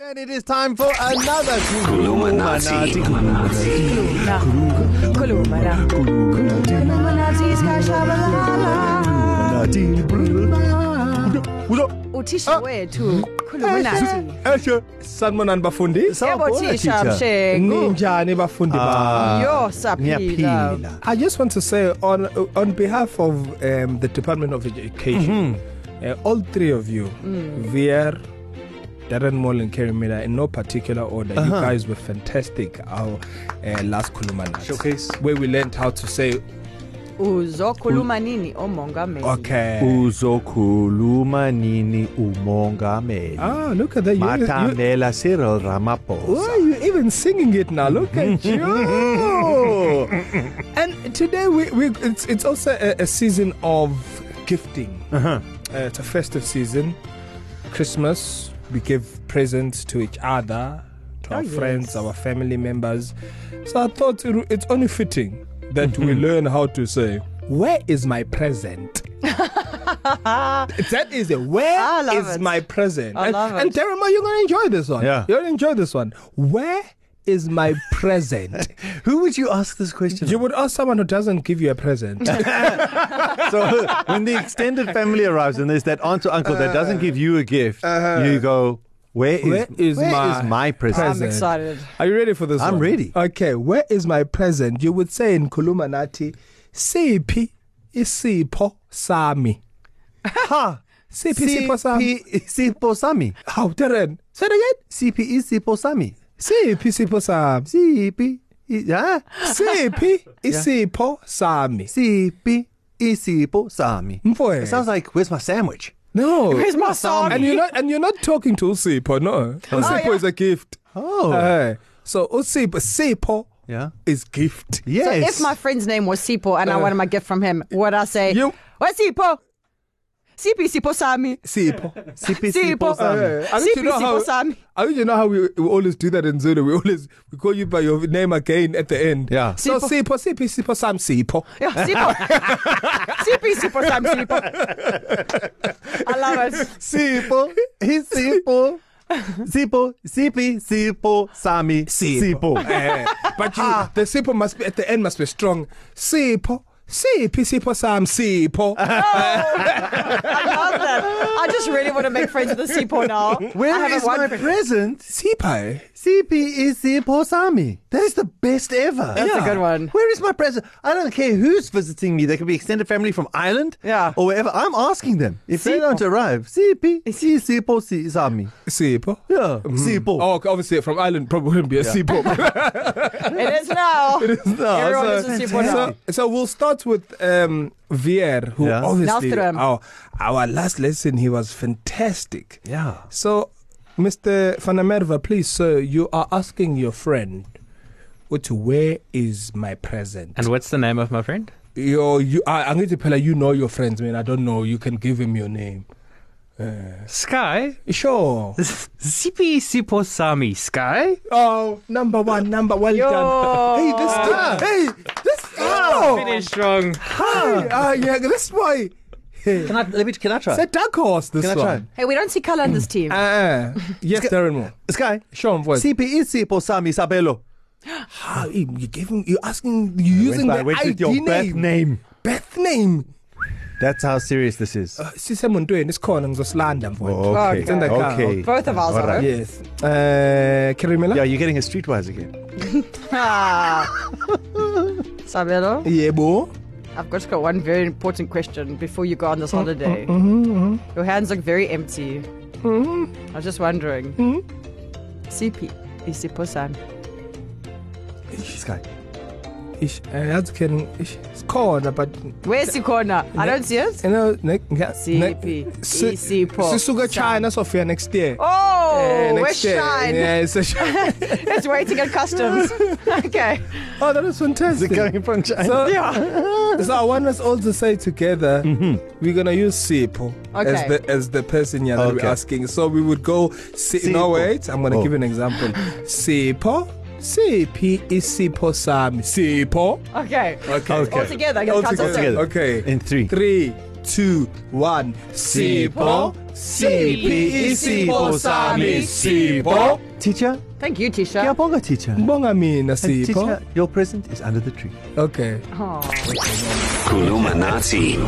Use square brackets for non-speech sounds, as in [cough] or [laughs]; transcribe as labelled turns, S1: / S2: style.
S1: And it is time for another
S2: Illuminati.
S3: Columna.
S4: Ah.
S3: uthisha wethu khulumana
S1: sanibonani bafundi
S3: Yebo, thisha, Mshego.
S1: ninjani bafundi bami?
S4: Ah,
S3: yo saphila
S1: Ah. I just want to say on on behalf of um, the Department of Education, uh, all three of you,
S3: Mm.
S1: VR, Darren Moll and Kerry Miller, in no particular order, you guys were fantastic. Our uh, last Kuluman
S4: Showcase.
S1: where we learned how to say
S3: uzokhuluma nini omongameli
S1: okay.
S4: uzokhuluma nini umongameli
S1: Ah, look at that! You, you, you,
S4: mathandela cyril
S1: oh,
S4: ramaphosa
S1: you even singing it now. Look
S3: [laughs]
S1: at you! and today we, we it's, it's also a, a season of gifting.
S4: Uh-huh.
S1: Uh, it's a festive season. Christmas, we give presents to each other, to our
S3: Oh, yes.
S1: friends, our family members. So I thought it, it's only fitting that
S3: Mm-hmm.
S1: we learn how to say, Where is my
S3: [laughs]
S1: present? that is it.
S3: I
S1: Where
S3: love
S1: is
S3: it.
S1: my present?
S3: I
S1: and,
S3: love it.
S1: and Derrima, you're going to enjoy this one.
S4: Yeah.
S1: You're going to enjoy this one. Where is my
S4: [laughs]
S1: present?
S4: who would you ask this question
S1: you would ask someone who doesn't give you a
S3: [laughs]
S1: present.
S4: so when the extended family arrives and there's that aunt or uncle that doesn't give you a gift you go Uh-huh. where is,
S1: Where is
S4: where
S1: my
S4: is my present
S3: i'm
S1: present.
S3: excited
S1: Are you ready for this?
S4: I'm
S1: one?
S4: ready.
S1: Okay, where is my present? You would say in Kulumanati, Sipi isipho
S3: [laughs]
S1: sami. Ha! Sipi isipho sami.
S4: sipho sami
S1: How, Darren? Say it again.
S4: cpe E sipho sami E,
S1: Sipi isipho sami.
S4: cp yeah
S1: Sipi isipho sami.
S4: cp isipho E sami
S1: Mfowethu.
S4: it sounds like where's my sandwich
S1: No.
S3: Where's my sami?
S1: And you're not and you're not talking to Usipho, no. Usipho
S3: yeah.
S1: is a gift.
S4: oh
S1: Uh, so Usipho Sipho
S4: Yeah.
S1: is gift.
S3: so
S4: yes Uh.
S3: if my friend's name was Sipo and I wanted my gift from him, would I say,
S1: You-
S3: Where's Sipo? Sipi Sipo Sami.
S1: Sipho.
S4: cp
S3: Sipho.
S4: sipho sami
S1: Uh, I
S3: Sipi
S1: don't know
S3: Sipo
S1: how-
S3: Sami.
S1: I mean, you know how we, we always do that in Zulu. We always we call you by your name again at the end.
S4: Yeah.
S1: So Sipo, Sipo, Sipo, Sam Sipo.
S3: Yeah,
S4: [laughs]
S3: Sipo. Sipi Sipo Sami Sipo. I love it.
S4: Sipo, he's [laughs] Sipo. Sipo, Sipi, Sipo, Sami, [laughs]
S1: Eh, but you, the Sipo must be at the end must be strong. Sipo, Sipi, Sipo, Sam Sipo.
S3: I love that. I just really want to make friends with the Sipo now. I
S4: Where
S3: haven't
S4: is
S3: won
S4: my
S3: friends.
S4: present?
S1: Sipo.
S4: Sipi is Sipo Sami. That is the best ever.
S3: That's
S1: Yeah.
S3: a good one.
S4: Where is my present? I don't care who's visiting me. They could be extended family from Ireland
S3: Yeah.
S4: or wherever. I'm asking them. If they
S3: Sipo.
S4: don't arrive, Sipi, Si Sipo, Si Sami.
S1: Sipo.
S4: Yeah, Sipo.
S1: Oh, okay, obviously from Ireland probably wouldn't be a Sipo.
S3: It
S1: [laughs]
S3: is now. It is
S1: No,
S3: Everyone
S1: so-
S3: is a Sipo now.
S1: so, so we'll start with um, Vier, who
S4: Yeah.
S1: obviously
S3: Lastrum.
S1: our, our last lesson he was fantastic.
S4: Yeah.
S1: So, Mr. Fanamerva, please, sir, you are asking your friend, what, where is my present?
S5: And what's the name of my friend?
S1: Yo, you, I, I'm going to tell her, you know your friends, man. I don't know. You can give him your name.
S5: Sky.
S4: [laughs]
S1: Sure.
S5: Sipi Sipo Sami Sky.
S1: Oh, number one, number one.
S3: Yo.
S1: Done. Hey, this guy. Hey, this
S4: ah.
S1: guy.
S5: Finish strong.
S1: Hi. Ah, yeah, this boy. Hey.
S4: Can I, let me, can I try?
S1: It's a dark horse, this
S4: Can I try?
S1: one.
S3: Hey, we don't see color on this team.
S1: Ah, yes, Darren Moore.
S4: Sky,
S1: Show him voice.
S4: Sipi E is Sipo Sami Sabelo.
S1: Ah, you giving, you asking, you using
S4: I
S1: the
S4: went
S1: ID
S4: with your birth name.
S1: Birth name.
S4: That's how serious this is.
S1: Uh, sisemondweni isikhona ngizosilanda mfowethu
S4: Okay.
S3: It's in the
S1: car.
S4: okay.
S3: Both of us are.
S1: Uh, yes um
S4: Yeah,
S1: kirimela
S4: you're getting a streetwise again.
S3: Ah. Sabelo,
S1: yebo
S3: I've got, got one very important question before you go on this holiday.
S1: Mm-hmm,
S3: Your hands look very empty.
S1: Mm-hmm.
S3: I was just wondering. CP, is it Posan?
S4: Sky.
S1: ish eh, yazi can ish sikhona but
S3: Where's the corner? I don't see it. E
S1: you know ne- nga-
S3: CP,
S1: ne- si-
S3: isipho.
S1: sisuka china sofia next year
S3: Oh,
S1: Eh,
S3: we're
S1: next year. [laughs]
S3: shine.
S1: Yeah, it's a
S3: [laughs]
S1: shine.
S3: It's waiting at
S1: [laughs]
S3: customs. okay.
S1: oh that was fantastic
S4: from China?
S1: so,
S3: Yeah.
S1: so I want us all to say together,
S4: Mm-hmm.
S1: we're gonna use Sipo as
S3: Okay.
S1: the as the person yeah, that
S4: Okay.
S1: we're asking. So we would go. Si- no
S4: Sipho.
S1: wait, I'm gonna
S4: Oh.
S1: give an example. Sipo, Sipi isipo sami. Sipo.
S3: Okay.
S1: Okay.
S3: All together. I can
S1: All
S3: count us
S1: together.
S4: together.
S1: Okay.
S4: In three.
S1: Three, two, one. Sipho,
S4: CP, Sipho Sami,
S1: Sipho.
S4: Teacher,
S3: Thank you, Tisha.
S4: Kiabonga, teacher.
S1: Bonga mina,
S4: And
S1: Sipho.
S4: teacher, your present is under the tree.
S1: Okay.
S3: Aw.
S2: Kulumanati.